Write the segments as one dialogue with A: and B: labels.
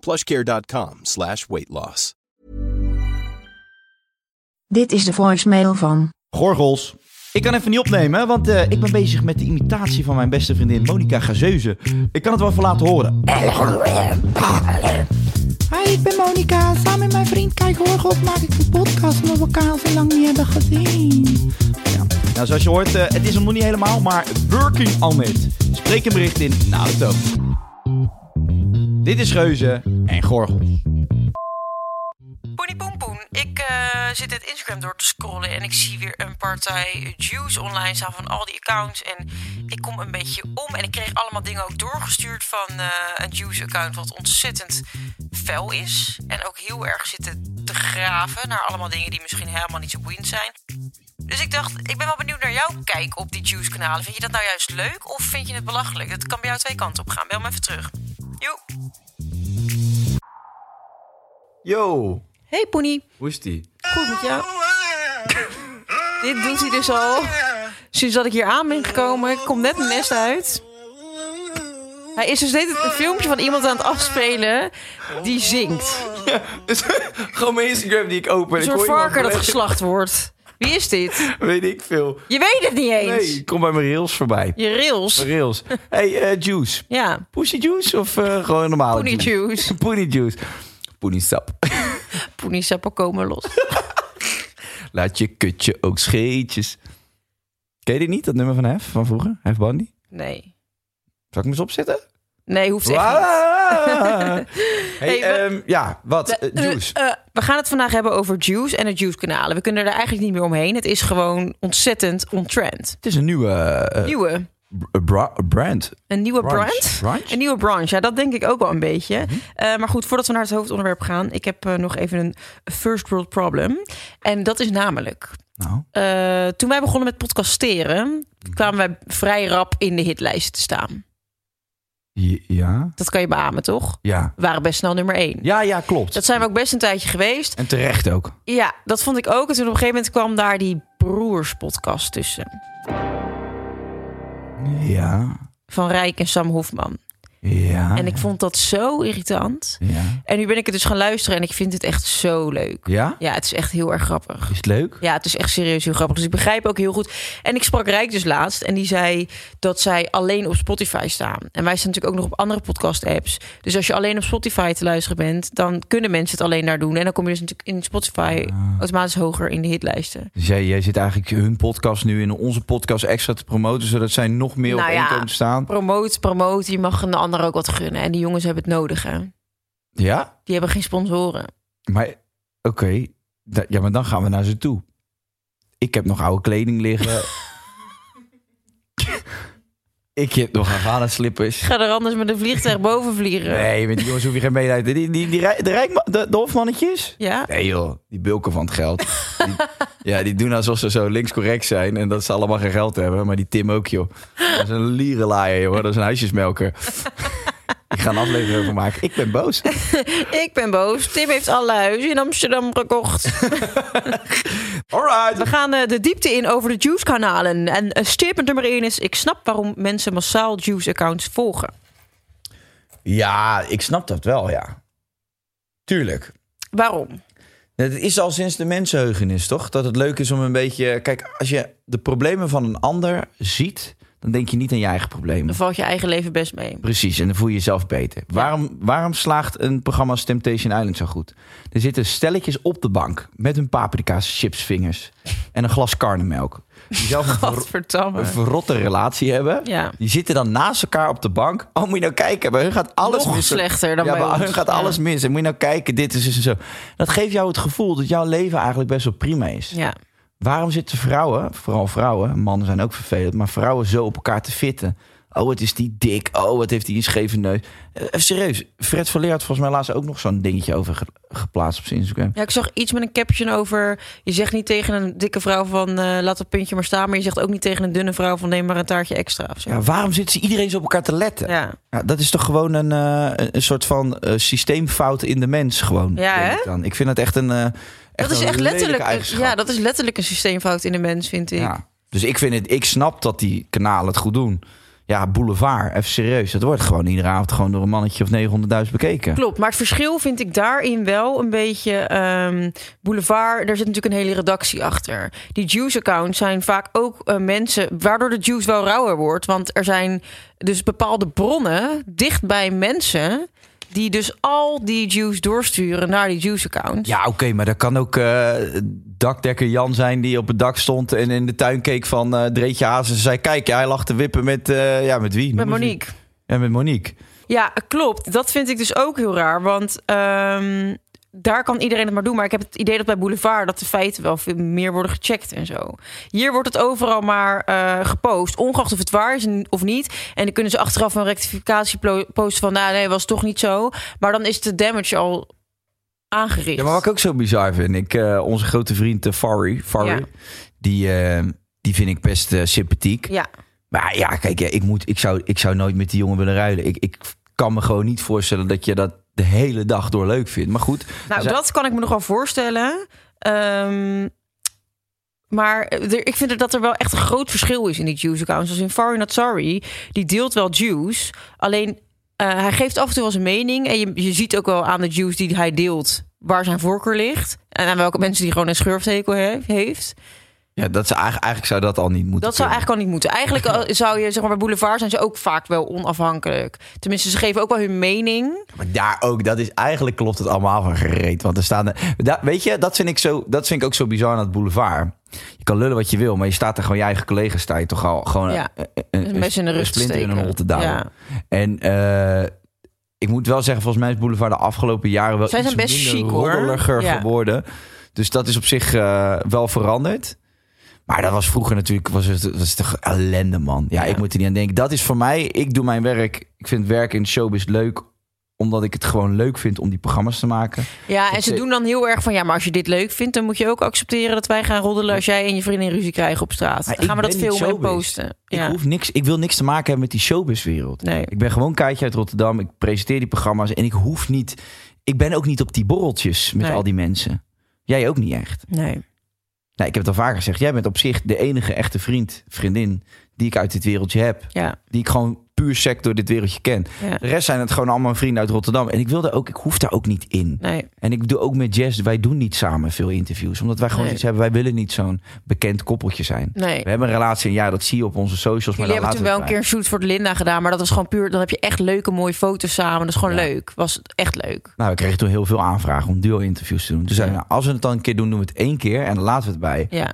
A: plushcare.com slash weight loss.
B: Dit is de voicemail van.
C: Gorgels.
D: Ik kan even niet opnemen, want eh, ik ben bezig met de imitatie van mijn beste vriendin Monica Gazeuze. Ik kan het wel even laten horen.
E: Hi, ik ben Monica. Samen met mijn vriend Kijk Hoorgop maak ik een podcast omdat we elkaar al zo lang niet hebben gezien.
D: Nou, zoals je hoort, eh, het is hem nog niet helemaal, maar working on it. Spreek een bericht in na de toon. Dit is Geuze en Gorgels.
F: Poenie Poen Poen, ik eh, zit het Instagram door te scrollen en ik zie weer een partij Jews online staan van al die accounts. En ik kom een beetje om en ik kreeg allemaal dingen ook doorgestuurd van eh, een Jews account wat ontzettend fel is. En ook heel erg zitten te graven naar allemaal dingen die misschien helemaal niet zo boeiend zijn. Dus ik dacht, ik ben wel benieuwd naar jouw kijk op die Jews kanalen. Vind je dat nou juist leuk of vind je het belachelijk? Dat kan bij jou twee kanten op gaan. Bel me even terug. Joe.
G: Yo,
F: Hey Poenie.
G: hoe is die?
F: Goed met jou. Dit doet hij dus al. Sinds dat ik hier aan ben gekomen, ik kom net mijn nest uit. Hij is dus net een filmpje van iemand aan het afspelen die zingt.
G: Gewoon mijn Instagram die ik open.
F: Een
G: ik
F: soort
G: hoor iemand
F: varken dat
G: bellen.
F: geslacht wordt. Wie is dit?
G: Weet ik veel.
F: Je weet het niet eens.
G: Nee, kom bij mijn rails voorbij.
F: Je rails.
G: Mijn rails. hey, eh juice.
F: Ja,
G: Pushy juice of eh, gewoon normaal?
F: Poenie juice.
G: Poenie juice. Poenie sap.
F: Poenie Sappo komen los.
G: Laat je kutje ook scheetjes.
C: Ken je dit niet, dat nummer van Hef van vroeger? Hef Bandy?
F: Nee.
C: Zal ik hem eens opzetten?
F: Nee, hoeft echt niet.
C: Ah! hey,
F: Hey, we-
C: ehm, ja, wat?
F: Eh,
C: eh, juice.
F: eh, eh, we gaan het vandaag hebben over Juice en de Juice-kanalen. We kunnen er eigenlijk niet meer omheen. Het is gewoon ontzettend on-trend.
C: Het is een nieuwe eh,
F: Nieuwe.
C: eh, bra- brand.
F: Een nieuwe
C: Branche.
F: brand?
C: Branche?
F: Een nieuwe branche, ja, dat denk ik ook wel een beetje.
C: Mhm.
F: Eh, maar goed, voordat we naar het hoofdonderwerp gaan, ik heb eh, nog even een first world problem. En dat is namelijk,
C: Nou,
F: eh, toen wij begonnen met podcasteren,
C: Mhm.
F: kwamen wij vrij rap in de hitlijsten te staan.
C: j- ja.
F: Dat kan je beamen, toch?
C: Ja.
F: We waren best snel nummer één.
C: Ja, ja, klopt.
F: Dat zijn we ook best een tijdje geweest.
C: En terecht ook.
F: Ja, dat vond ik ook. En toen op een gegeven moment kwam daar die broerspodcast tussen.
C: Ja.
F: Van Rijk en Sam Hofman.
C: Ah, Ja.
F: En ik vond dat zo irritant.
C: Ja.
F: En nu ben ik het dus gaan luisteren en ik vind het echt zo leuk.
C: Ja?
F: Ja, het is echt heel erg grappig.
C: Is het leuk?
F: Ja, het is echt serieus heel grappig. Dus ik begrijp ook heel goed. En ik sprak Rijk dus laatst. En die zei dat zij alleen op Spotify staan. En wij staan natuurlijk ook nog op andere podcast-apps. Dus als je alleen op Spotify te luisteren bent... dan kunnen mensen het alleen daar doen. En dan kom je dus natuurlijk in Spotify
C: Ah.
F: automatisch hoger in de hitlijsten.
C: Dus jij, jij zit eigenlijk hun podcast nu in onze podcast extra te promoten, zodat zij nog meer
F: Nou
C: op één
F: ja.
C: komen te staan.
F: Promoot, promoot. Je mag een ander ook wat gunnen. En die jongens hebben het nodig, hè.
C: Ja?
F: Die hebben geen sponsoren.
C: Maar, oké. Da- Ja, maar dan gaan we naar ze toe. Ik heb nog oude kleding liggen. ik heb nog Havana slippers.
F: Ga er anders met een vliegtuig boven vliegen.
C: Nee, met die jongens hoef je geen medelijden. Die, die, die, rij- de, rijkma- de, de hofmannetjes?
F: Ja?
C: Nee joh, die bulken van het geld. Die- ja, die doen alsof ze zo linkscorrect zijn en dat ze allemaal geen geld hebben. Maar die Tim ook joh. Dat is een lierenlaaier joh, dat is een huisjesmelker. Ik ga een aflevering over maken. Ik ben boos.
F: Ik ben boos. Tim heeft alle huizen in Amsterdam gekocht.
C: Alright.
F: We gaan eh, de diepte in over de Juice-kanalen. En eh, statement nummer 1 is... ik snap waarom mensen massaal Juice-accounts volgen.
C: Ja, ik snap dat wel, ja. Tuurlijk.
F: Waarom?
C: Het is al sinds de mensenheugenis, toch? Dat het leuk is om een beetje... Kijk, als je de problemen van een ander ziet... dan denk je niet aan je eigen problemen.
F: Dan valt je eigen leven best mee.
C: Precies, en dan voel je jezelf beter. Waarom, waarom slaagt een programma als Temptation Island zo goed? Er zitten stelletjes op de bank met hun paprika's, chipsvingers en een glas karnemelk. Die zelf een, ver-
F: Godverdamme.
C: een verrotte relatie hebben.
F: Ja.
C: Die zitten dan naast elkaar op de bank. Oh, moet je nou kijken, bij hun gaat alles
F: Nog
C: mis.
F: slechter dan
C: ja,
F: bij
C: maar
F: ons.
C: hun gaat alles
F: Ja.
C: mis. En moet je nou kijken, dit is dus en zo. Dat geeft jou het gevoel dat jouw leven eigenlijk best wel prima is.
F: Ja.
C: Waarom zitten vrouwen, vooral vrouwen, mannen zijn ook vervelend, maar vrouwen zo op elkaar te fitten? Oh, het is die dik. Oh, wat heeft hij een scheve neus. Eh, even serieus, Fred Verleer had volgens mij laatst ook nog zo'n dingetje over ge- geplaatst op zijn Instagram.
F: ja, ik zag iets met een caption over... je zegt niet tegen een dikke vrouw van eh, laat dat puntje maar staan... maar je zegt ook niet tegen een dunne vrouw van neem maar een taartje extra of zo.
C: Ja, waarom zitten ze iedereen zo op elkaar te letten?
F: Ja.
C: Ja, dat is toch gewoon een, eh, een- een soort van eh, systeemfout in de mens gewoon.
F: Ja,
C: denk
F: hè?
C: ik Dan. Ik vind dat echt een eh, echt
F: Dat is
C: een
F: echt
C: lelijke
F: letterlijk,
C: eigenschap.
F: ja, dat is letterlijk een systeemfout in de mens, vind ik.
C: Ja. Dus ik vind het, ik snap dat die kanalen het goed doen. Ja, boulevard, even serieus. Dat wordt gewoon iedere avond gewoon door een mannetje of 900.000 bekeken.
F: Klopt, maar het verschil vind ik daarin wel een beetje ehm, boulevard. Daar zit natuurlijk een hele redactie achter. Die Juice-accounts zijn vaak ook eh, mensen waardoor de Juice wel rauwer wordt. Want er zijn dus bepaalde bronnen dicht bij mensen die dus al die Juice doorsturen naar die Juice-accounts.
C: Ja, oké, maar dat kan ook eh, dakdekker Jan zijn die op het dak stond en in de tuin keek van eh Dreetje Haas. En zei: Kijk, ja, hij lag te wippen met, eh, ja, met wie?
F: Met
C: Noem eens wie.
F: Monique.
C: Ja, met Monique.
F: Ja, klopt. Dat vind ik dus ook heel raar. Want ehm, daar kan iedereen het maar doen. Maar ik heb het idee dat bij Boulevard dat de feiten wel veel meer worden gecheckt en zo. Hier wordt het overal maar eh, gepost. Ongeacht of het waar is en- of niet. En dan kunnen ze achteraf een rectificatie plo- posten van... nou nee, was toch niet zo. Maar dan is de damage al aangericht.
C: Ja, maar wat ik ook zo bizar vind, ik, eh, onze grote vriend eh, Farry, Farry
F: Ja.
C: die, eh, die vind ik best eh, sympathiek.
F: Ja.
C: Maar ja, kijk, ja, ik, moet, ik, zou, ik zou nooit met die jongen willen ruilen. Ik, ik kan me gewoon niet voorstellen dat je dat de hele dag door leuk vindt. Maar goed,
F: Nou,
C: Zij-
F: dat kan ik me nog wel voorstellen. Ehm, maar er- ik vind er dat er wel echt een groot verschil is in die Juice-accounts. Als in Far Not Sorry, die deelt wel Juice. Alleen, eh, hij geeft af en toe wel zijn mening. En je, je ziet ook wel aan de Juice die hij deelt... waar zijn voorkeur ligt. En aan welke mensen die gewoon een schurfthekel he- heeft.
C: ja, dat zou, eigenlijk, eigenlijk zou dat al niet moeten
F: Dat zou
C: kunnen.
F: eigenlijk al niet moeten. Eigenlijk al- zou je, zeg maar, bij Boulevard zijn ze ook vaak wel onafhankelijk. Tenminste, ze geven ook wel hun mening.
C: Maar daar ook, dat is eigenlijk klopt het allemaal van gereed. Want er staan. er- daar- weet je, dat vind, ik zo, dat vind ik ook zo bizar aan het boulevard. Je kan lullen wat je wil, maar je staat er gewoon je eigen collega's sta je toch al gewoon
F: Ja,
C: een, een,
F: een mes in de rug te
C: splinter in een
F: steken.
C: hol te duwen.
F: Ja.
C: En eh, ik moet wel zeggen, volgens mij is Boulevard de afgelopen jaren wel
F: Zij
C: iets
F: zijn best
C: minder
F: chic, hoor.
C: roddeliger
F: Ja.
C: geworden. Dus dat is op zich eh, wel veranderd. Maar dat was vroeger natuurlijk, was het, was het toch ellende, man. Ja,
F: Ja.
C: ik moet er niet aan denken. Dat is voor mij, ik doe mijn werk. Ik vind werken in de showbiz leuk, omdat ik het gewoon leuk vind om die programma's te maken.
F: Ja, en
C: Dat
F: ze
C: ze-
F: doen dan heel erg van... ja, maar als je dit leuk vindt... dan moet je ook accepteren dat wij gaan roddelen... als jij en je vriendin ruzie krijgen op straat.
C: Maar
F: Dan
C: ik
F: gaan we dat
C: ben niet
F: filmen en
C: showbiz.
F: posten.
C: Ik,
F: Ja.
C: hoef niks, ik wil niks te maken hebben met die showbizwereld.
F: Nee.
C: Ik ben gewoon Kaatje uit Rotterdam. Ik presenteer die programma's en ik hoef niet... Ik ben ook niet op die borreltjes met
F: Nee.
C: al die mensen. Jij ook niet echt.
F: Nee.
C: Nou, ik heb het al vaker gezegd. Jij bent op zich de enige echte vriend, vriendin die ik uit dit wereldje heb.
F: Ja.
C: Die ik gewoon puur sec door dit wereldje ken.
F: ja.
C: De rest zijn het gewoon allemaal vrienden uit Rotterdam. En ik wil daar ook, ik hoef daar ook niet in.
F: Nee.
C: En ik doe ook met Jess, wij doen niet samen veel interviews. Omdat wij gewoon
F: Nee.
C: iets hebben, wij willen niet zo'n bekend koppeltje zijn.
F: Nee.
C: We hebben een relatie en ja, dat zie je op onze socials. Maar
F: Jullie
C: daar
F: hebben toen wel
C: laten
F: een
C: we
F: keer
C: het
F: een shoot voor de Linda gedaan... maar dat was gewoon puur... dan heb je echt leuke, mooie foto's samen. Dat is gewoon leuk. Was het echt leuk.
C: bij. Nou, we kregen toen heel veel aanvragen om duo-interviews te doen. Toen zeiden we, nou, als we het dan een keer doen, doen we het één keer en dan laten we het bij.
F: Ja.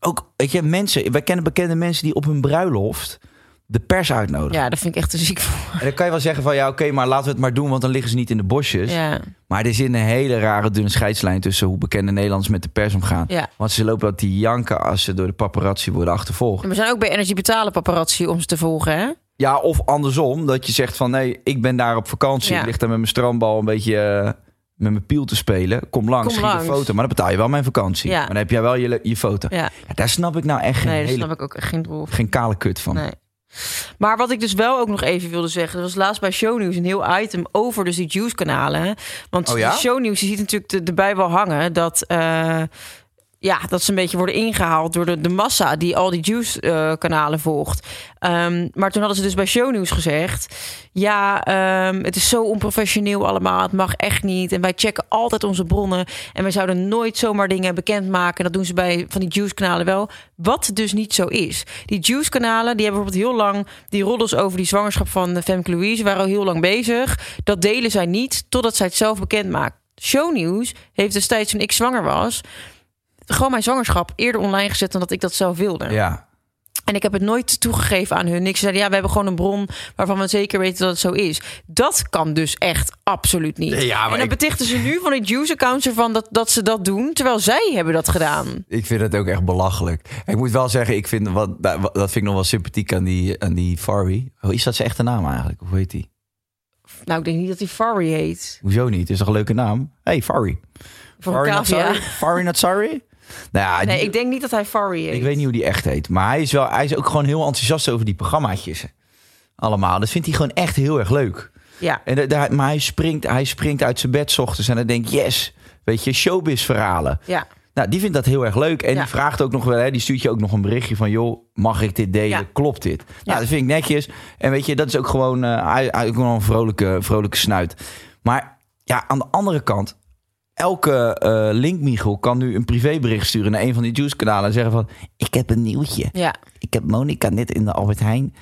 C: Ook, weet je, mensen, wij kennen bekende mensen die op hun bruiloft de pers uitnodigen.
F: ja, dat vind ik echt te ziek voor.
C: En dan kan je wel zeggen van ja, oké, maar laten we het maar doen, want dan liggen ze niet in de bosjes.
F: Ja.
C: Maar er zit een hele rare dunne scheidslijn tussen hoe bekende Nederlanders met de pers omgaan.
F: Ja.
C: Want ze lopen dat die janken als ze door de paparazzi worden
F: En
C: achtervolgd.
F: we zijn ook bij Energy Betalen paparazzi om ze te volgen, hè?
C: Ja, of andersom, dat je zegt van nee, ik ben daar op vakantie.
F: Ja.
C: Ik lig daar met mijn stroombal een beetje eh, met mijn piel te spelen. Kom langs,
F: Kom
C: schiet
F: langs.
C: een foto. Maar dan betaal je wel mijn vakantie.
F: Ja.
C: Maar dan heb jij wel je, le- je foto.
F: Ja.
C: Ja, daar snap ik nou echt geen,
F: Nee, daar
C: hele-
F: snap ik ook echt geen droef.
C: geen kale kut van.
F: Nee. Maar wat ik dus wel ook nog even wilde zeggen... er was laatst bij Shownieuws een heel item over dus die juice-kanalen. Want
C: Oh ja?
F: de Shownieuws, je ziet natuurlijk de, erbij wel hangen... dat eh, ja, dat ze een beetje worden ingehaald door de, de massa die al die Juice-kanalen volgt. Ehm, maar toen hadden ze dus bij Shownieuws gezegd: Ja, ehm, het is zo onprofessioneel allemaal. Het mag echt niet. En wij checken altijd onze bronnen. En wij zouden nooit zomaar dingen bekendmaken. Dat doen ze bij van die Juice-kanalen wel. Wat dus niet zo is. Die Juice-kanalen die hebben bijvoorbeeld heel lang die roddels over die zwangerschap van eh, Femke Louise waren al heel lang bezig. Dat delen zij niet totdat zij het zelf bekend maakt. Shownieuws heeft destijds toen ik zwanger was gewoon mijn zwangerschap eerder online gezet dan dat ik dat zelf wilde.
C: Ja.
F: En ik heb het nooit toegegeven aan hun. Ik zei, ja, we hebben gewoon een bron waarvan we zeker weten dat het zo is. Dat kan dus echt absoluut niet.
C: Ja, maar
F: en dan
C: ik-
F: betichten ze nu van het Juice-account ervan dat, dat ze dat doen, terwijl zij hebben dat gedaan.
C: Ik vind het ook echt belachelijk. Ik moet wel zeggen, ik vind wat, da- wat- dat vind ik nog wel sympathiek aan die, aan die Farry. Oh, is dat zijn echte naam eigenlijk? Hoe heet die?
F: Nou, ik denk niet dat die Farry heet.
C: Hoezo niet? Is toch een leuke naam? Hey, Farry.
F: Van
C: Farry not
F: Cavia.
C: sorry? Farry not sorry? Nou ja,
F: Nee,
C: die-
F: ik denk niet dat hij Farry heet.
C: ik weet niet hoe die echt heet. Maar hij is, wel, hij is ook gewoon heel enthousiast over die programmaatjes. Allemaal. Dat vindt hij gewoon echt heel erg leuk.
F: Ja.
C: En da- daar, maar hij springt, hij springt uit zijn bed 's ochtends en dan denkt, yes, weet je, showbiz verhalen.
F: Ja.
C: Nou, die vindt dat heel erg leuk. En
F: Ja.
C: die vraagt ook nog wel, hè, die stuurt je ook nog een berichtje van: joh, mag ik dit delen?
F: Ja.
C: Klopt dit?
F: Ja.
C: Nou, dat vind ik netjes. En weet je, dat is ook gewoon, eh, hij, hij ook wel een vrolijke, vrolijke snuit. Maar ja, aan de andere kant, elke eh linkmichel kan nu een privébericht sturen naar een van die juice-kanalen en zeggen van: Ik heb een nieuwtje.
F: Ja,
C: Ik heb Monica net in de Albert Heijn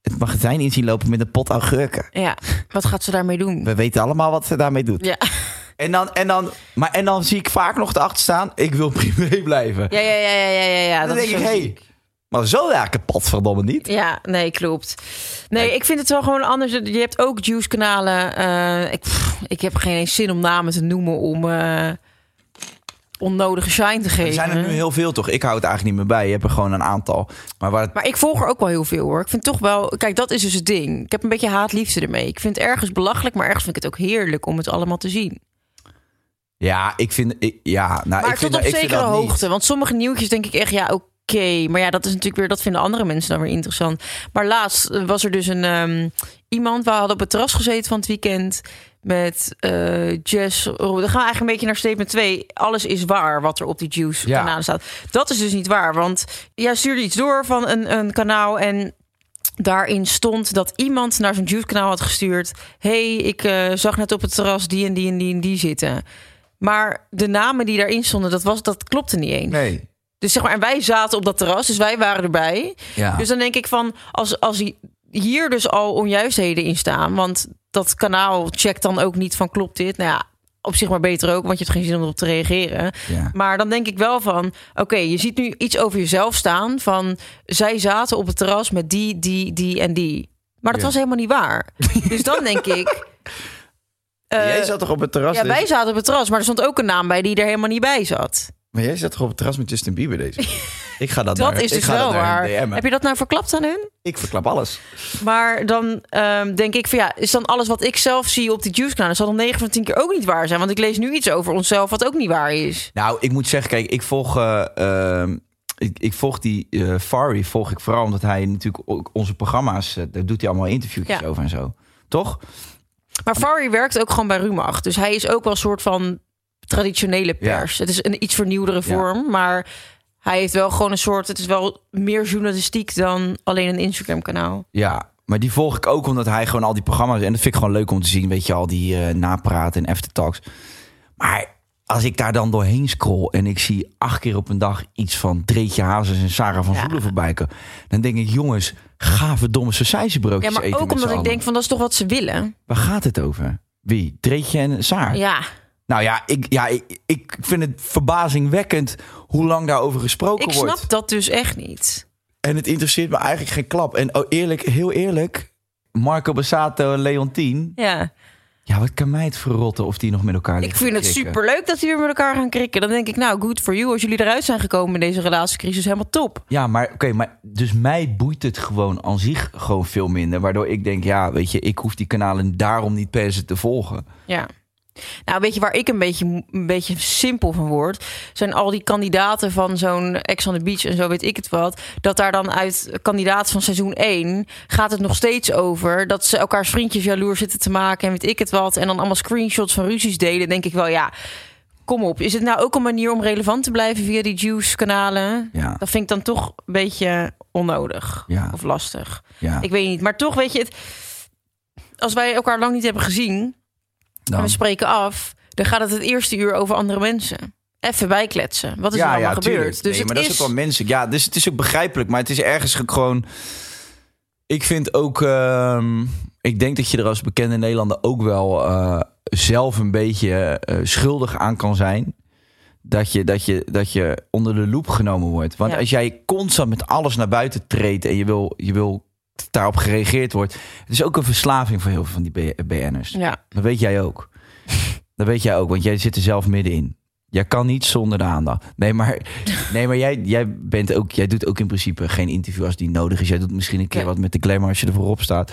C: het magazijn in zien lopen met een pot augurken.
F: ja. Wat gaat ze daarmee doen?
C: We weten allemaal wat ze daarmee doet.
F: Ja,
C: En, dan, en, dan, maar, en dan zie ik vaak nog erachter staan: Ik wil privé blijven.
F: ja, ja, ja, ja, ja. ja, ja.
C: dan
F: dat is
C: denk ik,
F: zo
C: hé,
F: ziek.
C: maar zo raak ik het potverdomme niet.
F: Ja, nee, klopt. Nee, ik vind het wel gewoon anders. Je hebt ook juice-kanalen. eh, ik, pff, ik heb geen eens zin om namen te noemen om eh, onnodige shine te geven.
C: Er zijn er nu heel veel, toch? Ik hou het eigenlijk niet meer bij. Je hebt er gewoon een aantal. Maar waar het...
F: Maar ik volg er ook wel heel veel hoor. Ik vind toch wel. Kijk, dat is dus het ding. Ik heb een beetje haatliefde ermee. Ik vind het ergens belachelijk, maar ergens vind ik het ook heerlijk om het allemaal te zien.
C: Ja, ik vind... Ik, ja, nou,
F: Maar
C: ik vind
F: tot op
C: dat, ik vind
F: zekere
C: dat niet.
F: hoogte. Want sommige nieuwtjes denk ik echt, ja, oké. Maar ja, dat is natuurlijk weer, dat vinden andere mensen dan weer interessant. Maar laatst eh, was er dus een ehm, iemand, we hadden op het terras gezeten van het weekend met eh Jess. Ro- Dan gaan we eigenlijk een beetje naar statement 2. Alles is waar wat er op die Juice
C: Ja.
F: kanalen staat. Dat is dus niet waar, want jij stuurde iets door van een, een kanaal en daarin stond dat iemand naar zo'n Juice-kanaal had gestuurd. hey, ik eh, zag net op het terras die en die en die en die zitten. Maar de namen die daarin stonden, dat, was, dat klopte niet eens.
C: Nee.
F: Dus zeg maar, en wij zaten op dat terras, dus wij waren erbij.
C: Ja.
F: Dus dan denk ik van, als, als hi- hier dus al onjuistheden in staan... want dat kanaal checkt dan ook niet van klopt dit? Nou ja, op zich maar beter ook, want je hebt geen zin om erop te reageren.
C: Ja.
F: Maar dan denk ik wel van, oké, je ziet nu iets over jezelf staan... van zij zaten op het terras met die, die, die en die. Maar dat was helemaal niet waar. dus dan denk ik... eh,
C: jij zat toch op het terras?
F: ja,
C: deze-
F: wij zaten op het terras, maar er stond ook een naam bij die er helemaal niet bij zat.
C: Maar jij zat toch op het terras met Justin Bieber deze keer? Ik ga dat
F: Dat
C: naar-
F: is
C: Nou, ik
F: dus
C: ga
F: wel
C: dat naar
F: waar.
C: hun DM'en.
F: Heb je dat nou verklapt aan hun?
C: Ik verklap alles.
F: Maar dan ehm, denk ik van ja, is dan alles wat ik zelf zie op die juice-kanalen... zal dan 9 van 10 keer ook niet waar zijn. Want ik lees nu iets over onszelf wat ook niet waar is.
C: Nou, ik moet zeggen, kijk, ik volg, eh, ehm, ik, ik volg die eh Fari volg ik vooral omdat hij natuurlijk ook onze programma's, eh, daar doet hij allemaal interviewtjes
F: Ja.
C: over en zo. Toch?
F: Maar Farry werkt ook gewoon bij Rumach. Dus hij is ook wel een soort van traditionele pers. Het is een iets vernieuwdere vorm, maar... Hij heeft wel gewoon een soort. Het is wel meer journalistiek dan alleen een Instagram-kanaal.
C: Ja, maar die volg ik ook omdat hij gewoon al die programma's... en dat vind ik gewoon leuk om te zien, weet je, al die eh, napraten en aftertalks. Maar als ik daar dan doorheen scroll en ik zie acht keer op een dag... iets van Dreetje Hazes en Sarah van
F: Ja.
C: Zoelen voorbij komen... dan denk ik, jongens, ga verdomme
F: Ja,
C: sausijzenbroodjes
F: maar
C: eten
F: ook
C: met
F: omdat
C: z'n
F: ik
C: allen.
F: denk van dat is toch wat ze willen.
C: Waar gaat het over? Wie? Dreetje en Saar?
F: Ja.
C: Nou ja, ik, ja ik, ik vind het verbazingwekkend hoe lang daarover gesproken
F: Ik
C: wordt.
F: snap dat dus echt niet.
C: En het interesseert me eigenlijk geen klap. En oh, eerlijk, heel eerlijk, Marco Bassato en Leontien...
F: Ja.
C: Ja, wat kan mij het verrotten of die nog met elkaar
F: Ik
C: liggen
F: vind het
C: te krikken?
F: superleuk dat die weer met elkaar gaan krikken. Dan denk ik, nou, good for you. Als jullie eruit zijn gekomen in deze relatiecrisis, helemaal top.
C: Ja, maar oké, maar dus mij boeit het gewoon aan zich gewoon veel minder. Waardoor ik denk, ja, weet je, ik hoef die kanalen daarom niet per se te volgen.
F: Ja. Nou, weet je waar ik een beetje, een beetje simpel van word? Zijn al die kandidaten van zo'n Ex on the Beach en zo weet ik het wat. Dat daar dan uit kandidaat van seizoen 1 gaat het nog steeds over. Dat ze elkaars vriendjes jaloers zitten te maken en weet ik het wat. En dan allemaal screenshots van ruzies delen. Denk ik wel, ja, kom op. Is het nou ook een manier om relevant te blijven via die juice-kanalen?
C: Ja.
F: Dat vind ik dan toch een beetje onnodig
C: Ja.
F: of lastig.
C: Ja.
F: Ik weet niet. Maar toch, weet je, het, als wij elkaar lang niet hebben gezien en we
C: Dan.
F: spreken af, dan gaat het het eerste uur over andere mensen. Even bijkletsen. Wat is er allemaal
C: tuurlijk.
F: gebeurd?
C: Nee,
F: Dus
C: maar
F: het
C: dat
F: is,
C: is ook wel menselijk. Ja, dus het is ook begrijpelijk, maar het is ergens ook gewoon. Ik vind ook. ehm, ik denk dat je er als bekende Nederlander ook wel eh, zelf een beetje eh, schuldig aan kan zijn. Dat je, dat, je, dat je onder de loep genomen wordt. Want
F: Ja.
C: als jij constant met alles naar buiten treedt en je wil, je wil dat daarop gereageerd wordt. Het is ook een verslaving voor heel veel van die B- BN'ers.
F: ja,
C: Dat weet jij ook. Dat weet jij ook, want jij zit er zelf middenin. Jij kan niet zonder de aandacht. Nee, maar, nee, maar jij, jij, bent ook, jij doet ook in principe geen interview als die nodig is. Jij doet misschien een keer
F: Nee.
C: wat met de glamour als je er voorop staat.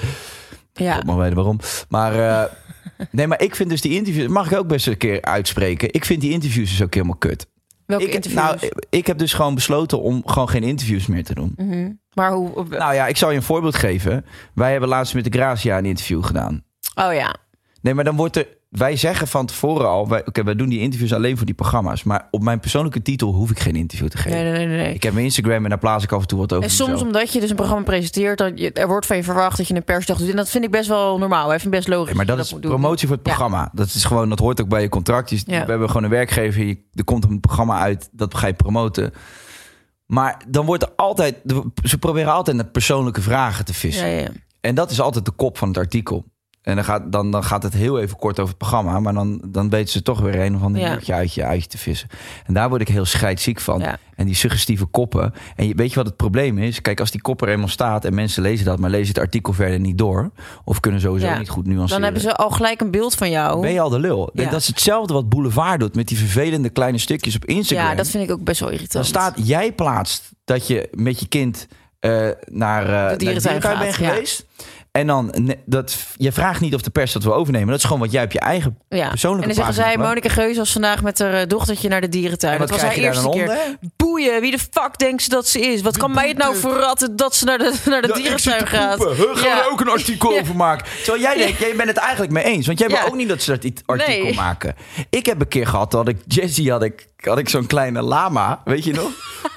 F: ja.
C: Tot maar weten waarom. Maar, eh, nee, maar ik vind dus die interviews... Mag ik ook best een keer uitspreken? Ik vind die interviews dus ook helemaal kut.
F: Welke
C: ik,
F: interviews?
C: Nou, ik- ik heb dus gewoon besloten om gewoon geen interviews meer te doen.
F: Mhm. Maar hoe? op-
C: Nou ja, ik zal je een voorbeeld geven. Wij hebben laatst met de Gracia een interview gedaan.
F: Oh ja.
C: Nee, maar dan wordt er. Wij zeggen van tevoren al. wij- Oké, wij doen die interviews alleen voor die programma's. Maar op mijn persoonlijke titel hoef ik geen interview te geven.
F: Nee, nee, nee, nee. nee.
C: Ik heb mijn Instagram en daar plaats ik af en toe wat over.
F: En soms
C: mezelf.
F: omdat je dus een programma presenteert, dat je, er wordt van je verwacht dat je een persdag doet. En dat vind ik best wel normaal. Even best logisch.
C: Nee, maar dat, is
F: moet doen.
C: promotie voor het
F: Ja.
C: programma. Dat is gewoon, dat hoort ook bij je contract. Je-
F: Ja.
C: We hebben gewoon een werkgever. Je, er komt een programma uit, dat ga je promoten. Maar dan wordt er altijd. Ze proberen altijd naar persoonlijke vragen te vissen.
F: Ja, ja, ja.
C: En dat is altijd de kop van het artikel. En dan gaat, dan, dan gaat het heel even kort over het programma. Maar dan, dan weten ze toch weer een of ander
F: Ja.
C: dingetje uit je uitje te vissen. En daar word ik heel scheidziek van.
F: Ja.
C: En die suggestieve koppen. En je, weet je wat het probleem is? Kijk, als die kop er eenmaal staat en mensen lezen dat... maar lezen het artikel verder niet door... of kunnen sowieso
F: Ja.
C: niet goed nuanceren...
F: Dan hebben ze al gelijk een beeld van jou.
C: ben je al de lul.
F: Ja.
C: Dat is hetzelfde wat Boulevard doet... met die vervelende kleine stukjes op Instagram.
F: ja, dat vind ik ook best wel
C: Dan
F: irritant.
C: staat, jij plaatst dat je met je kind eh, naar eh, naar de
F: dierentuin
C: dierentuin bent
F: gaat, ja.
C: geweest. En dan, ne- dat, je vraagt niet of de pers dat wil overnemen. Dat is gewoon wat jij op je eigen
F: ja.
C: persoonlijke
F: en dan
C: pagina
F: zeggen zij,
C: plaatst.
F: Monika Geus was vandaag met haar eh, dochtertje naar de dierentuin.
C: En wat
F: dat was haar
C: krijg je daar
F: eerste
C: dan
F: keer.
C: onder?
F: Boeien, wie de fuck denkt ze dat ze is? Wat kan mij het nou verratten dat ze naar de, naar de
C: Ja, ik zit
F: dierentuin
C: te
F: gaat?
C: poepen. Huh, gaan
F: Ja.
C: we ook een artikel
F: Ja.
C: over maken? Terwijl jij denkt, jij bent het eigenlijk mee eens. Want jij
F: Ja.
C: wil ook niet dat ze dat i- artikel
F: Nee.
C: maken. Ik heb een keer gehad, dat ik Jesse had ik, had ik zo'n kleine lama. Weet je nog?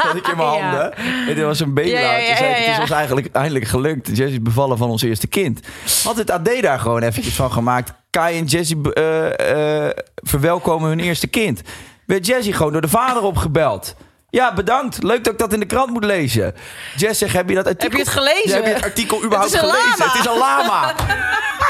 C: Dat ik in mijn
F: Ja.
C: handen. En er was een baby
F: Ja, ja,
C: Toen zei ik,
F: ja, ja,
C: Het is
F: ja.
C: ons eigenlijk eindelijk gelukt. Jesse is bevallen van ons eerste kind. Had het AD daar gewoon eventjes van gemaakt. Kai en Jesse eh, eh, verwelkomen hun eerste kind. Werd Jesse gewoon door de vader opgebeld. Ja, bedankt. Leuk dat ik dat in de krant moet lezen. Jess zegt, heb je dat
F: Heb je
C: artikel-
F: het gelezen?
C: Heb je het artikel überhaupt
F: Het is een
C: gelezen?
F: lama.
C: Het is een lama.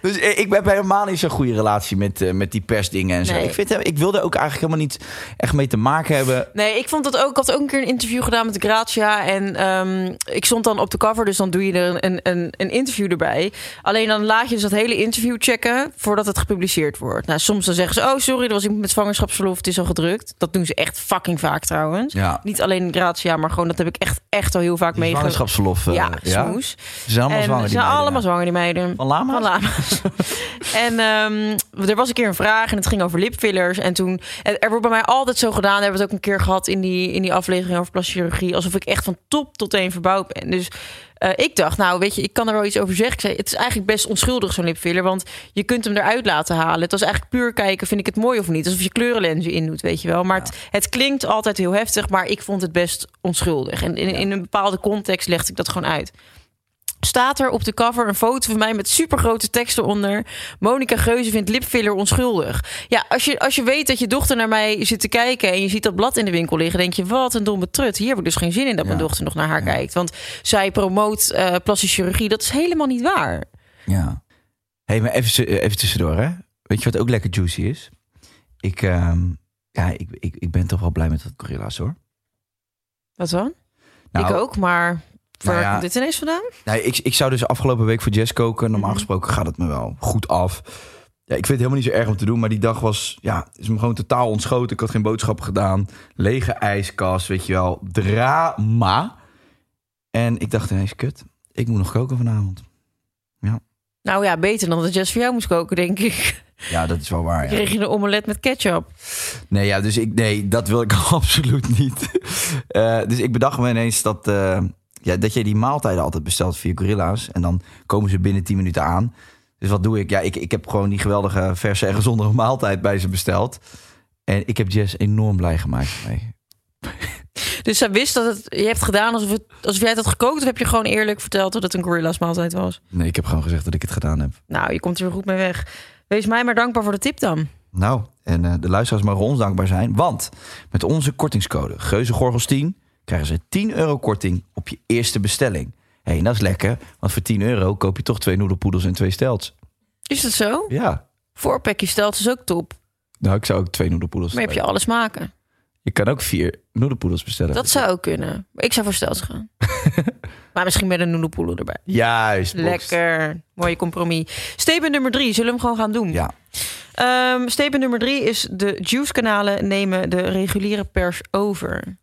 C: dus eh, ik heb helemaal niet zo'n goede relatie met, eh, met die persdingen en zo.
F: Nee.
C: Ik, vind, hem- ik wilde ook eigenlijk helemaal niet echt mee te maken hebben.
F: Nee, ik vond dat ook. Ik had ook een keer een interview gedaan met Gratia. En ehm, ik stond dan op de cover, dus dan doe je er een, een, een interview erbij. Alleen dan laat je dus dat hele interview checken voordat het gepubliceerd wordt. Nou, soms dan zeggen ze: Oh, sorry, er was iemand met zwangerschapsverlof, het is al gedrukt. Dat doen ze echt fucking vaak trouwens.
C: Ja.
F: Niet alleen Gratia, maar gewoon dat heb ik echt, echt al heel vaak meegemaakt.
C: Zwangerschapsverlof. eh,
F: Ja,
C: ja.
F: smoes.
C: Ze zijn allemaal
F: En
C: zwanger.
F: Ze
C: die
F: zijn
C: meiden,
F: allemaal
C: ja.
F: zwanger, die meiden.
C: Van lama's?
F: Van lama's. en ehm, er was een keer een vraag en het ging over lipfillers. En toen, en er wordt bij mij altijd zo gedaan. We hebben het ook een keer gehad in die, in die aflevering over plasticchirurgie. Alsof ik echt van top tot teen verbouwd ben. Dus eh, ik dacht, nou weet je, ik kan er wel iets over zeggen. Ik zei, het is eigenlijk best onschuldig zo'n lipfiller. Want je kunt hem eruit laten halen. Het was eigenlijk puur kijken, vind ik het mooi of niet. Alsof je kleurenlenzen in doet, weet je wel. Maar het, het klinkt altijd heel heftig. Maar ik vond het best onschuldig. En in, in een bepaalde context legde ik dat gewoon uit staat er op de cover een foto van mij met supergrote tekst eronder. Monica Geuze vindt lipfiller onschuldig. Ja, als je, als je weet dat je dochter naar mij zit te kijken en je ziet dat blad in de winkel liggen, denk je, wat een domme trut. Hier heb ik dus geen zin in dat mijn dochter nog naar haar kijkt. Want zij promoot eh plastische chirurgie. Dat is helemaal niet waar.
C: Ja. hey, maar even, tu- even tussendoor, hè? Weet je wat ook lekker juicy is? Ik, ehm, ja, ik, ik, ik ben toch wel blij met dat gorilla's, hoor.
F: Wat dan?
C: Nou,
F: ik ook, maar waar
C: ja.
F: komt dit ineens vandaan?
C: Nou, ik, ik zou dus afgelopen week voor Jess koken. Normaal gesproken gaat het me wel goed af. Ja, ik vind het helemaal niet zo erg om te doen, maar die dag was, ja, is me gewoon totaal ontschoten. Ik had geen boodschappen gedaan. Lege ijskast, weet je wel. Drama. En ik dacht ineens, kut, ik moet nog koken vanavond.
F: Nou ja, beter dan dat Jess voor jou moest koken, denk ik.
C: Ja, dat is wel waar. Ja.
F: Kreeg je een omelet met ketchup.
C: Nee, ja, dus ik, nee, dat wil ik absoluut niet. Eh, dus ik bedacht me ineens dat, eh, ja, dat jij die maaltijden altijd bestelt via Gorilla's. En dan komen ze binnen 10 minuten aan. Dus wat doe ik? Ja, ik, ik heb gewoon die geweldige verse en gezonde maaltijd bij ze besteld. En ik heb Jess enorm blij gemaakt mee.
F: Dus zij wist dat het, je hebt gedaan alsof, het, alsof jij het had gekookt. Of heb je gewoon eerlijk verteld dat het een gorilla's maaltijd was?
C: Nee, ik heb gewoon gezegd dat ik het gedaan heb.
F: Nou, je komt er goed mee weg. Wees mij maar dankbaar voor de tip dan.
C: Nou, en eh, de luisteraars mogen ons dankbaar zijn. Want met onze kortingscode Geuzegorgels10 krijgen ze 10 euro korting op je eerste bestelling. Hé, en dat is lekker, want voor 10 euro koop je toch twee noedelpoedels en twee stelts.
F: Is dat zo?
C: Ja,
F: Voorpakje stelt is ook top.
C: nou ik zou ook twee noedelpoedels
F: Maar heb je
C: bestellen.
F: alles maken?
C: Je kan ook vier noedelpoedels bestellen.
F: Dat zou ook kunnen. Ik zou voor stelt gaan. maar misschien met een noedelpoelo erbij.
C: Juist, Bob.
F: Lekker. Mooie compromis. Statement nummer drie. Zullen we hem gewoon gaan doen?
C: Ja,
F: Ehm, statement nummer drie is... de juice-kanalen nemen de reguliere pers over.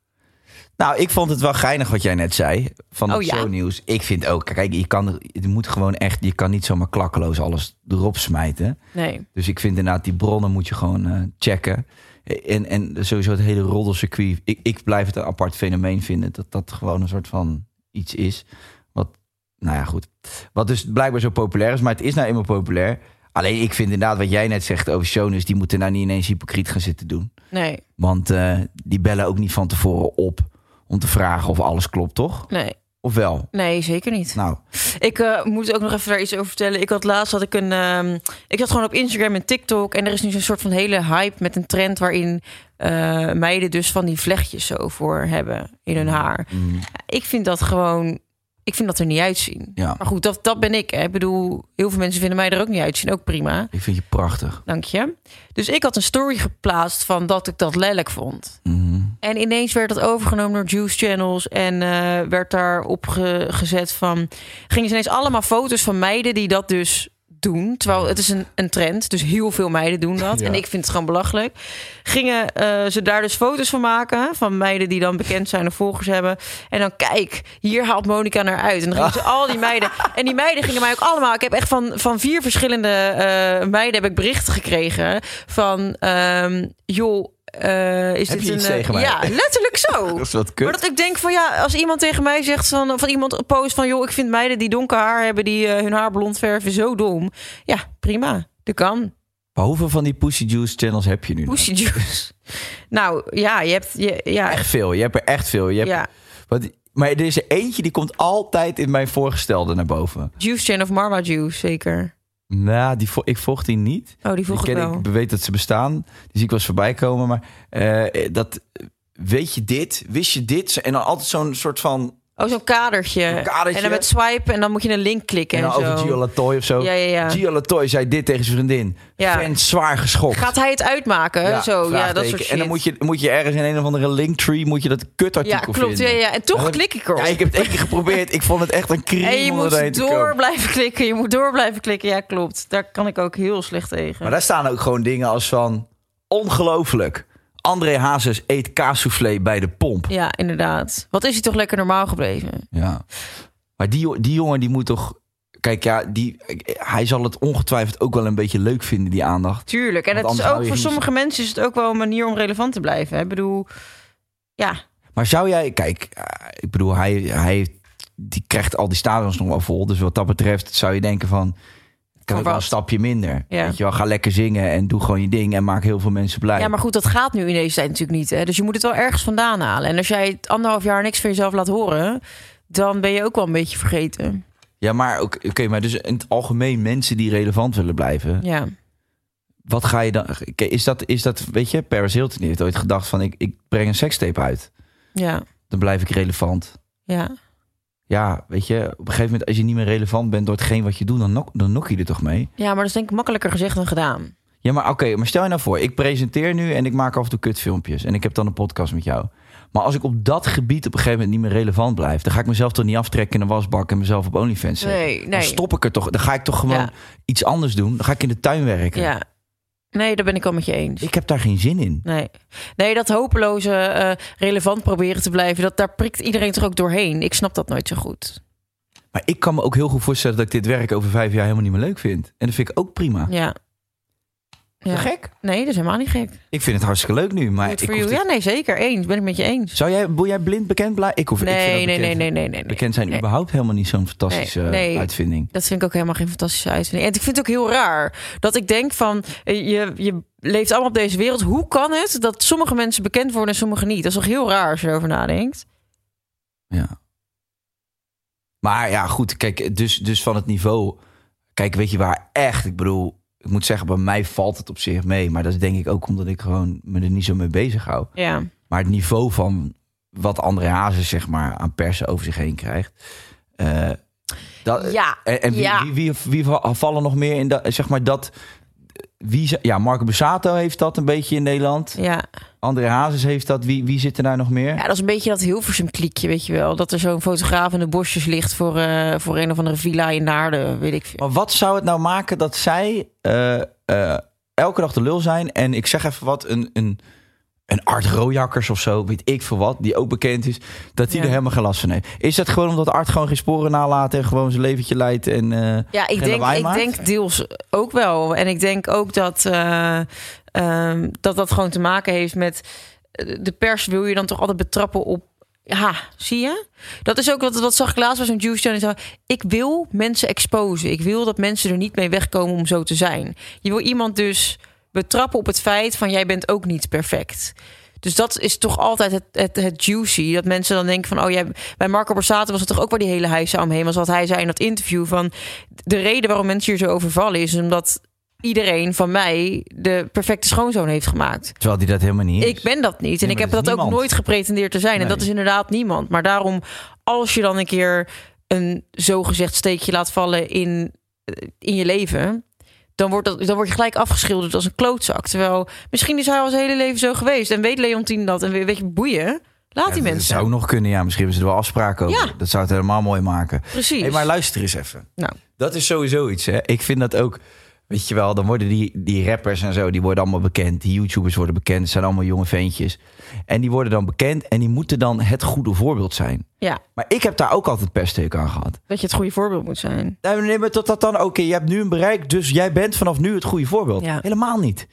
C: Nou, ik vond het wel geinig wat jij net zei van het
F: Oh, ja?
C: shownieuws. Ik vind ook, kijk, je kan, je moet gewoon echt, je kan niet zomaar klakkeloos alles erop smijten.
F: Nee.
C: Dus ik vind inderdaad die bronnen moet je gewoon eh, checken. En, en sowieso het hele roddelcircuit. Ik, ik blijf het een apart fenomeen vinden dat dat gewoon een soort van iets is. Wat, nou ja, goed. Wat dus blijkbaar zo populair is, maar het is nou eenmaal populair. Alleen ik vind inderdaad wat jij net zegt over shownieuws, die moeten nou niet ineens hypocriet gaan zitten doen.
F: Nee.
C: Want eh, die bellen ook niet van tevoren op om te vragen of alles klopt, toch?
F: Nee.
C: Of wel?
F: Nee, zeker niet.
C: Nou,
F: Ik eh, moet ook nog even daar iets over vertellen. Ik had laatst had ik een. ehm, ik zat gewoon op Instagram en TikTok. En er is nu zo'n soort van hele hype met een trend waarin eh, meiden dus van die vlechtjes zo voor hebben in hun haar.
C: mm,
F: Ik vind dat gewoon. Ik vind dat er niet uitzien.
C: Ja.
F: Maar goed, dat, dat ben ik. Hè. Ik bedoel, heel veel mensen vinden mij er ook niet uitzien. Ook prima.
C: ik vind je prachtig.
F: Dank je. Dus ik had een story geplaatst van dat ik dat lelijk vond.
C: Mhm.
F: En ineens werd dat overgenomen door Juice Channels. En eh, werd daarop ge- gezet van... Gingen ze ineens allemaal foto's van meiden die dat dus doen. Terwijl het is een, een trend. Dus heel veel meiden doen dat. En ik vind het gewoon belachelijk. Gingen eh, ze daar dus foto's van maken. Van meiden die dan bekend zijn en volgers hebben. En dan kijk, hier haalt Monica naar uit. En dan gingen ze al die meiden... En die meiden gingen mij ook allemaal... Ik heb echt van, van vier verschillende eh, meiden heb ik berichten gekregen. Van, ehm, joh... eh, is
C: Heb
F: dit
C: je
F: een,
C: iets
F: eh,
C: tegen mij?
F: Ja, letterlijk zo.
C: Dat is wat kut.
F: Maar dat ik denk van ja, als iemand tegen mij zegt van, van iemand post van joh, ik vind meiden die donker haar hebben, die eh, hun haar blond verven, zo dom. Ja, prima. Dat kan.
C: Maar hoeveel van die Pussy Juice channels heb je nu? nog?
F: Pussy juice. Nou ja, je hebt je, ja,
C: Echt veel. Je hebt er echt veel. Je hebt,
F: ja.
C: Wat- maar er is er eentje die komt altijd in mijn voorgestelde naar boven.
F: Juice Chain of Marwa Juice, zeker.
C: Nou, die vo- ik volg die niet.
F: Oh, die vroeg
C: Die
F: ik
C: ken
F: wel.
C: ik weet dat ze bestaan. Die zie ik wel eens voorbij komen. Maar eh, dat, weet je dit? Wist je dit? En dan altijd zo'n soort van...
F: Oh, zo'n kadertje.
C: Zo'n kadertje.
F: En dan met swipe en dan moet je een link klikken
C: En
F: en,
C: dan nou, over
F: zo.
C: Gio Latoy of zo.
F: Ja, ja, ja.
C: Gio Latoy zei dit tegen zijn vriendin.
F: Ja.
C: Fans zwaar geschokt.
F: Gaat hij het uitmaken? zo, ja, dat
C: vraagteken.
F: soort shit.
C: En dan moet je, moet je ergens in een of andere linktree... moet je dat kutartikel
F: ja, klopt. Ja,
C: vinden.
F: ja. En toch
C: Ja,
F: klik ik erop.
C: Ja, ik heb het één keer geprobeerd. Ik vond het echt een crime
F: En je
C: om erheen
F: moet
C: te
F: door
C: komen.
F: blijven klikken. Je moet door blijven klikken. Ja, klopt. Daar kan ik ook heel slecht tegen.
C: Maar daar staan ook gewoon dingen als van... Ongelooflijk. André Hazes eet kaassoufflé bij de pomp.
F: Ja, inderdaad. Wat is hij toch lekker normaal gebleven?
C: Ja. Maar die, jo- die jongen die moet toch... Kijk, ja, die, hij zal het ongetwijfeld ook wel een beetje leuk vinden, die aandacht.
F: Tuurlijk. En
C: Want
F: het is
C: anders hou
F: ook
C: je
F: voor
C: niet-
F: sommige mensen is het ook wel een manier om relevant te blijven. hè. Ik bedoel, ja,
C: Maar zou jij, kijk, eh, ik bedoel, hij, hij die krijgt al die stadions nog wel vol. Dus wat dat betreft zou je denken van, ik
F: Van
C: kan ook wel een
F: wat?
C: stapje minder.
F: Ja.
C: Weet je wel, ga lekker zingen en doe gewoon je ding en maak heel veel mensen blij.
F: ja, maar goed, dat gaat nu in deze tijd natuurlijk niet. Hè? Dus je moet het wel ergens vandaan halen. En als jij het anderhalf jaar niks van jezelf laat horen, dan ben je ook wel een beetje vergeten.
C: Ja, maar ook- oké, maar dus in het algemeen mensen die relevant willen blijven.
F: Ja.
C: Wat ga je dan, oké, is dat, is dat, weet je, Paris Hilton heeft ooit gedacht van, ik, ik breng een sekstape uit.
F: Ja.
C: Dan blijf ik relevant.
F: Ja.
C: Ja, weet je, op een gegeven moment als je niet meer relevant bent door hetgeen wat je doet, dan nok, dan nok je er toch mee.
F: Ja, maar dat is denk ik makkelijker gezegd dan gedaan.
C: Ja, maar oké, maar stel je nou voor, ik presenteer nu en ik maak af en toe kutfilmpjes en ik heb dan een podcast met jou. Maar als ik op dat gebied op een gegeven moment niet meer relevant blijf, dan ga ik mezelf toch niet aftrekken in een wasbak en mezelf op OnlyFans zetten.
F: Nee, nee.
C: Dan stop ik er toch, dan ga ik toch gewoon
F: Ja.
C: iets anders doen. Dan ga ik in de tuin werken.
F: Ja. Nee, daar ben ik al met je eens.
C: Ik heb daar geen zin in.
F: Nee. nee, dat hopeloze eh, relevant proberen te blijven, dat, daar prikt iedereen toch ook doorheen. Ik snap dat nooit zo goed.
C: Maar ik kan me ook heel goed voorstellen dat ik dit werk over vijf jaar helemaal niet meer leuk vind. En dat vind ik ook prima.
F: Ja. Ja.
C: Gek?
F: Nee, dat is helemaal niet gek.
C: Ik vind het hartstikke leuk nu, maar
F: Good
C: ik
F: for
C: hoef
F: you.
C: dit-
F: Ja, nee, zeker. Eens. Ben ik met je eens.
C: Zou jij, wil jij blind bekend blijven? Ik hoef ik vind dat
F: Nee, nee,
C: bekend-
F: nee, nee, nee, nee. nee.
C: Bekend zijn
F: Nee.
C: überhaupt helemaal niet zo'n fantastische
F: Nee, nee.
C: eh, uitvinding.
F: Dat vind ik ook helemaal geen fantastische uitzending. En ik vind het ook heel raar dat ik denk van eh, je, je leeft allemaal op deze wereld. Hoe kan het dat sommige mensen bekend worden en sommige niet? Dat is toch heel raar als je erover nadenkt.
C: Ja. Maar ja, goed. Kijk, dus, dus van het niveau. Kijk, weet je waar echt? Ik bedoel, ik moet zeggen, bij mij valt het op zich mee. Maar dat is denk ik ook omdat ik gewoon me er niet zo mee bezig hou.
F: Ja,
C: Maar het niveau van wat André Hazes, zeg maar, aan persen over zich heen krijgt. eh, dat,
F: Ja,
C: En, en wie,
F: ja.
C: wie, wie, wie va- vallen nog meer in dat, zeg maar, dat. Wie, ze- ja, Marco Bussato heeft dat een beetje in Nederland.
F: ja.
C: André Hazes heeft dat. Wie, wie zit er daar nog meer?
F: ja dat is een beetje dat Hilversum kliekje, weet je wel. Dat er zo'n fotograaf in de bosjes ligt voor, eh, voor een of andere villa in Naarden, weet ik veel.
C: Maar wat zou het nou maken dat zij eh, eh, elke dag de lul zijn? En ik zeg even wat, een, een, een Art Rojakkers of zo, weet ik veel wat, die ook bekend is, dat die
F: Ja.
C: er helemaal geen last van heeft. Is dat gewoon omdat Art gewoon geen sporen nalaat en gewoon zijn leventje leidt? En, eh,
F: Ja, ik
C: Geen
F: denk,
C: lawaai
F: ik
C: maakt?
F: denk deels ook wel. En ik denk ook dat, eh, ehm, dat dat gewoon te maken heeft met... eh, De pers wil je dan toch altijd betrappen op... Ja, zie je? Dat is ook wat, wat zag ik laatst bij zo'n juice challenge. Zo, Ik wil mensen exposen. Ik wil dat mensen er niet mee wegkomen om zo te zijn. Je wil iemand dus betrappen op het feit van... jij bent ook niet perfect. Dus dat is toch altijd het, het, het juicy. Dat mensen dan denken van, oh ja, bij Marco Borsato was het toch ook waar die hele heisa omheen was. Wat hij zei in dat interview van, de reden waarom mensen hier zo overvallen is omdat iedereen van mij de perfecte schoonzoon heeft gemaakt.
C: terwijl die dat helemaal niet is.
F: Ik ben dat niet.
C: Nee,
F: En ik
C: maar dat
F: heb dat
C: is
F: ook
C: niemand.
F: nooit gepretendeerd te zijn. En
C: Nee.
F: dat is inderdaad niemand. Maar daarom, als je dan een keer een zogezegd steekje laat vallen in, eh, in je leven. Dan, wordt dat, dan word je gelijk afgeschilderd als een klootzak. Terwijl misschien is hij al zijn hele leven zo geweest. En weet Leontien dat. En weet je, boeien. Laat
C: Ja,
F: die
C: dat
F: mensen.
C: zou nog kunnen, ja. Misschien hebben ze er wel afspraken over.
F: Ja.
C: Dat zou het helemaal mooi maken.
F: Precies.
C: Hey, maar luister eens even.
F: Nou.
C: Dat is sowieso iets, hè. Ik vind dat ook... Weet je wel, dan worden die, die rappers en zo, die worden allemaal bekend. Die YouTubers worden bekend. Het zijn allemaal jonge ventjes. En die worden dan bekend en die moeten dan het goede voorbeeld zijn.
F: Ja,
C: Maar ik heb daar ook altijd peststeek aan gehad.
F: dat je het goede voorbeeld moet zijn.
C: Nee, maar nee, maar tot dat dan, oké, je hebt nu een bereik, dus jij bent vanaf nu het goede voorbeeld.
F: Ja.
C: Helemaal niet.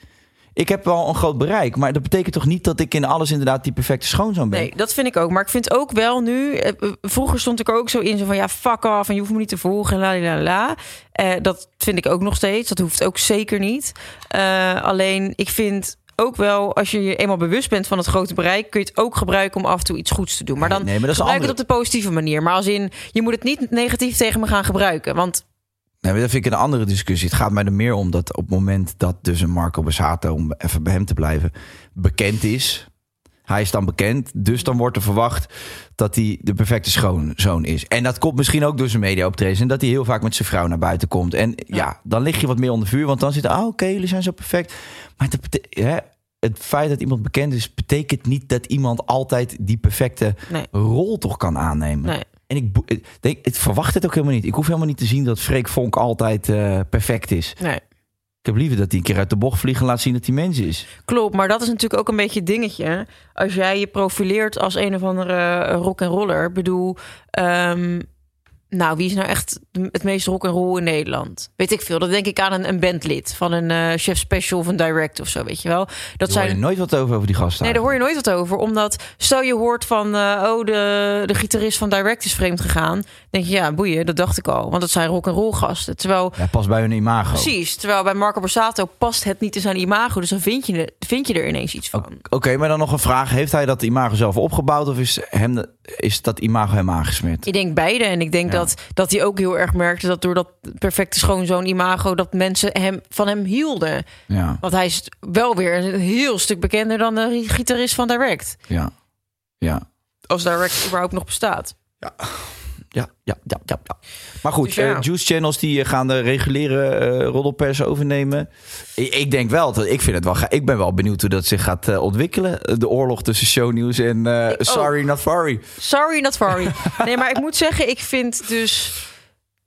C: Ik heb wel een groot bereik, maar dat betekent toch niet dat ik in alles inderdaad die perfecte schoonzoon ben?
F: Nee, dat vind ik ook. Maar ik vind ook wel nu. eh, eh, Vroeger stond ik er ook zo in. Zo van ja, fuck af. En je hoeft me niet te volgen. En la la la, la. Eh, dat vind ik ook nog steeds. Dat hoeft ook zeker niet. Eh, alleen ik vind ook wel. Als je je eenmaal bewust bent van het grote bereik. kun je het ook gebruiken om af en toe iets goeds te doen. Maar dan
C: Nee, maar dat is een
F: gebruik het
C: andere-
F: op de positieve manier. Maar als in. Je moet het niet negatief tegen me gaan gebruiken. Want
C: Nee, maar dat vind ik een andere discussie. Het gaat mij er meer om dat op het moment dat dus een Marco Bassato, om even bij hem te blijven, bekend is. Hij is dan bekend, dus dan wordt er verwacht dat hij de perfecte schoonzoon is. En dat komt misschien ook door zijn mediaoptredens en dat hij heel vaak met zijn vrouw naar buiten komt. En ja, dan lig je wat meer onder vuur, want dan zitten, ah oké, jullie zijn zo perfect. Maar dat bete- hè, het feit dat iemand bekend is, betekent niet dat iemand altijd die perfecte
F: Nee.
C: rol toch kan aannemen.
F: nee.
C: En ik, bo- ik denk, ik verwacht het ook helemaal niet. Ik hoef helemaal niet te zien dat Freek Vonk altijd eh, perfect is.
F: nee.
C: Ik heb liever dat hij een keer uit de bocht vliegen laat zien dat hij mens is.
F: Klopt, maar dat is natuurlijk ook een beetje het dingetje. Als jij je profileert als een of andere eh, rock and roller, Ik bedoel, ehm, nou wie is nou echt de- het meest rock and roll in Nederland? Weet ik veel. Dat denk ik aan een, een bandlid van een eh, chef special of een direct of zo, weet je wel. Dat
C: Daar hoor je
F: zijn.
C: nooit wat over, over die gasten.
F: Nee, daar hoor je nooit wat over. Omdat stel je hoort van, eh, oh, de, de gitarist van Direct is vreemd gegaan. Dan denk je, ja, boeien, dat dacht ik al. Want dat zijn rock and roll gasten. Terwijl
C: Ja, pas bij hun imago.
F: Precies, terwijl bij Marco Borsato past het niet in zijn imago. Dus dan vind je, er- vind je er ineens iets van.
C: Oké, maar dan nog een vraag. Heeft hij dat imago zelf opgebouwd of is, hem de- is dat imago hem aangesmeerd?
F: Ik denk beide. En ik denk dat, dat hij ook heel erg merkte dat door dat perfecte schoonzoon imago... dat mensen hem, van hem hielden.
C: Ja,
F: Want hij is wel weer een heel stuk bekender dan de gitarist van Direct.
C: ja, ja.
F: Als Direct überhaupt nog bestaat.
C: Ja, ja, ja, ja. ja. Maar goed,
F: Dus ja.
C: eh, juice channels die eh, gaan de reguliere eh roddelpers overnemen. Ik, ik denk wel, dat, ik vind het wel. ga- Ik ben wel benieuwd hoe dat zich gaat eh, ontwikkelen. De oorlog tussen shownieuws en eh, sorry not sorry.
F: Sorry, not sorry. Nee, maar ik moet zeggen, ik vind dus...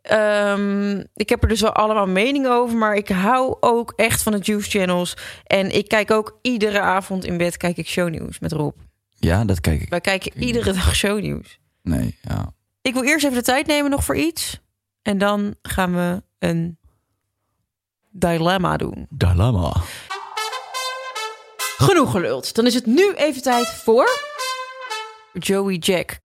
F: ehm, ik heb er dus wel allemaal meningen over, maar ik hou ook echt van de Juice Channels. En ik kijk ook iedere avond in bed kijk ik shownieuws met Rob.
C: Ja, dat kijk ik.
F: Wij kijken iedere dag shownieuws.
C: Nee, ja.
F: Ik wil eerst even de tijd nemen nog voor iets. En dan gaan we een dilemma doen.
C: Dilemma.
F: Genoeg geluld. Dan is het nu even tijd voor... Joey Jack.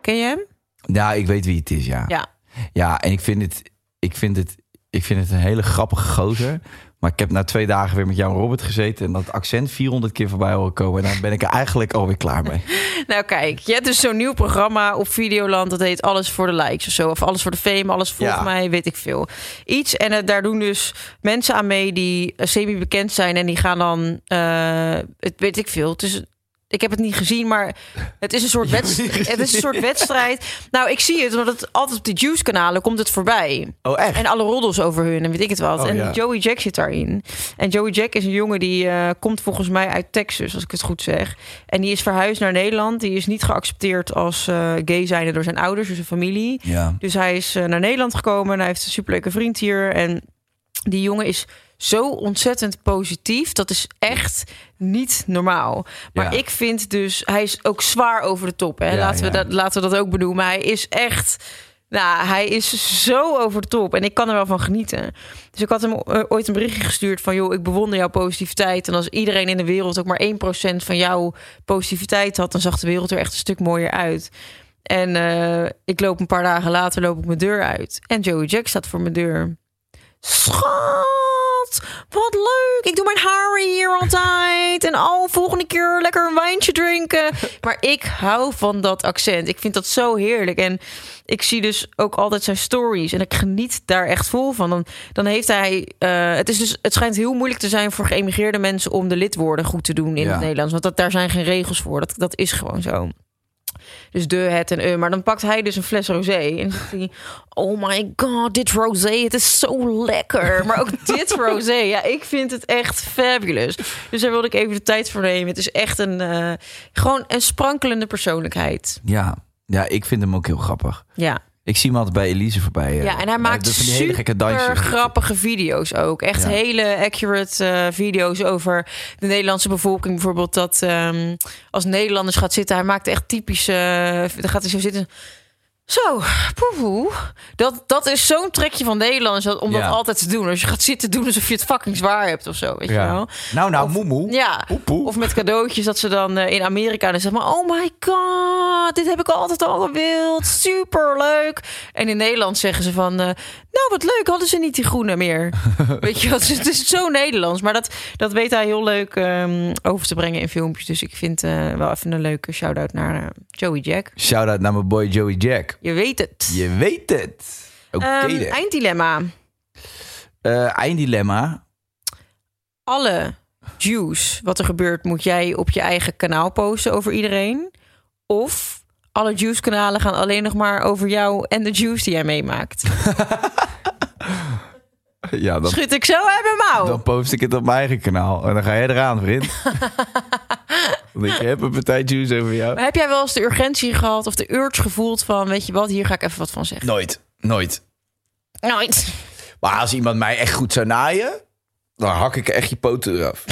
F: Ken je hem?
C: Ja, ik weet wie het is, ja.
F: Ja.
C: Ja, en ik vind het, ik vind het, ik vind het een hele grappige gozer. Maar ik heb na twee dagen weer met jou en Robert gezeten en dat accent 400 keer voorbij horen komen. En daar ben ik er eigenlijk alweer klaar mee.
F: Nou kijk, je hebt dus zo'n nieuw programma op Videoland. Dat heet Alles voor de Likes of zo. Of Alles voor de Fame, Alles volgens
C: Ja.
F: mij, weet ik veel. Iets. En eh, daar doen dus mensen aan mee die eh, semi-bekend zijn. En die gaan dan, eh, het weet ik veel, tussen... Ik heb het niet gezien, maar het is een soort, wedstrijd. het is een soort wedstrijd. Nou, ik zie het, want het altijd op de Juice-kanalen komt het voorbij.
C: Oh, echt?
F: En alle roddels over hun en weet ik het wat.
C: Oh,
F: en
C: ja.
F: Joey Jack zit daarin. En Joey Jack is een jongen die eh, komt volgens mij uit Texas, als ik het goed zeg. En die is verhuisd naar Nederland. Die is niet geaccepteerd als eh, gay zijnde door zijn ouders, door zijn familie.
C: Ja.
F: Dus hij is eh, naar Nederland gekomen en hij heeft een superleuke vriend hier. En die jongen is zo ontzettend positief. Dat is echt niet normaal. Maar
C: Ja.
F: ik vind dus, hij is ook zwaar over de top. Hè?
C: Ja,
F: laten, We
C: ja.
F: dat, laten we dat ook benoemen. Hij is echt, nou, hij is zo over de top. En ik kan er wel van genieten. Dus ik had hem eh, ooit een berichtje gestuurd van... joh, ik bewonder jouw positiviteit. En als iedereen in de wereld ook maar 1% van jouw positiviteit had... dan zag de wereld er echt een stuk mooier uit. En eh, ik loop een paar dagen later loop ik mijn deur uit. En Joey Jack staat voor mijn deur. Schat, wat leuk. Ik doe mijn haar hier altijd. En al volgende keer lekker een wijntje drinken. Maar ik hou van dat accent. Ik vind dat zo heerlijk. En ik zie dus ook altijd zijn stories. En ik geniet daar echt vol van. Dan, dan heeft hij... eh, het, is dus, het schijnt heel moeilijk te zijn voor geëmigreerde mensen... om de lidwoorden goed te doen in
C: Ja.
F: het Nederlands. Want dat, daar zijn geen regels voor. Dat, dat is gewoon zo. Dus de, het en eh. Maar dan pakt hij dus een fles rosé. En zegt hij... Oh my god, dit rosé, het is zo lekker. Maar ook dit rosé, ja, ik vind het echt fabulous. Dus daar wilde ik even de tijd voor nemen. Het is echt een... eh, gewoon een sprankelende persoonlijkheid.
C: Ja. ja, ik vind hem ook heel grappig.
F: Ja,
C: Ik zie hem altijd bij Elise voorbij. eh,
F: ja en hij maakt
C: doet van die hele gekke dansjes.
F: super grappige video's ook. Echt
C: Ja.
F: hele accurate eh, video's over de Nederlandse bevolking. Bijvoorbeeld dat ehm, als Nederlanders gaat zitten... Hij maakt echt typische... eh, dan gaat hij zo zitten... Zo, poepoe. Dat, dat is zo'n trekje van Nederlanders dat, om
C: Ja.
F: dat altijd te doen. Als je gaat zitten doen alsof je het fucking zwaar hebt of zo, weet je
C: Ja.
F: wel.
C: Nou, nou, moemoe.
F: Ja.
C: Poepoe.
F: Of met cadeautjes dat ze dan eh, in Amerika dan zeggen maar oh my god, dit heb ik altijd al gewild, superleuk. En in Nederland zeggen ze van, eh, nou wat leuk, hadden ze niet die groene meer. Weet je wat? Het is zo Nederlands, maar dat, dat weet hij heel leuk ehm, over te brengen in filmpjes. Dus ik vind eh, wel even een leuke shout-out naar eh, Joey Jack.
C: Shout-out naar mijn boy Joey Jack.
F: Je weet het.
C: Je weet het. Oké
F: Ehm,
C: dan.
F: einddilemma.
C: Eh, einddilemma.
F: alle juice wat er gebeurt, moet jij op je eigen kanaal posten over iedereen? Of alle juice kanalen gaan alleen nog maar over jou en de juice die jij meemaakt?
C: Ja, dan,
F: Schud ik zo uit mijn mouw?
C: dan post ik het op mijn eigen kanaal. En dan ga jij eraan, vriend. Want ik heb een partij juice over jou.
F: Maar heb jij wel eens de urgentie gehad of de urge gevoeld van, weet je wat, hier ga ik even wat van zeggen?
C: Nooit. Nooit.
F: Nooit.
C: Maar als iemand mij echt goed zou naaien, dan hak ik echt je poten eraf.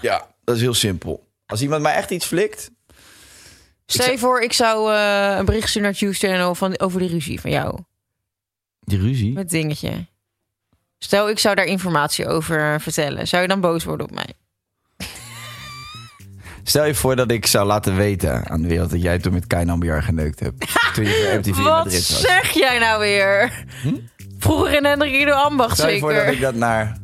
C: ja, dat is heel simpel. Als iemand mij echt iets flikt.
F: Stel je voor, ik zou eh, een bericht sturen naar Juice Channel van, over de ruzie van jou.
C: Die ruzie?
F: Met dingetje. Stel, ik zou daar informatie over vertellen. Zou je dan boos worden op mij?
C: Stel je voor dat ik zou laten weten aan de wereld dat jij toen met Kai Nambiar geneukt hebt. Toen je voor MTV in
F: Wat
C: Madrid was.
F: zeg jij nou weer? Vroeger in Hendrik Ido Ambacht
C: Stel Hm? je voor dat ik
F: zeker.
C: dat naar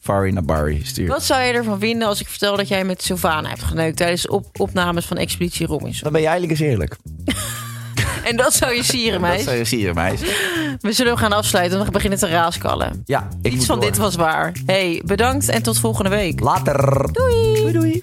C: Fari Nabari stuur.
F: Wat zou je ervan vinden als ik vertel dat jij met Sylvana hebt geneukt tijdens op opnames van Expeditie Robinson?
C: Dan ben je eigenlijk eens eerlijk.
F: En dat zou je sieren,
C: Dat zou
F: meis.
C: je zien, meis.
F: We zullen hem gaan afsluiten, want we beginnen te raaskallen.
C: Ja, ik
F: Iets
C: moet
F: van
C: door.
F: dit was waar. hey, bedankt en tot volgende week.
C: Later. Doei. Doei, doei.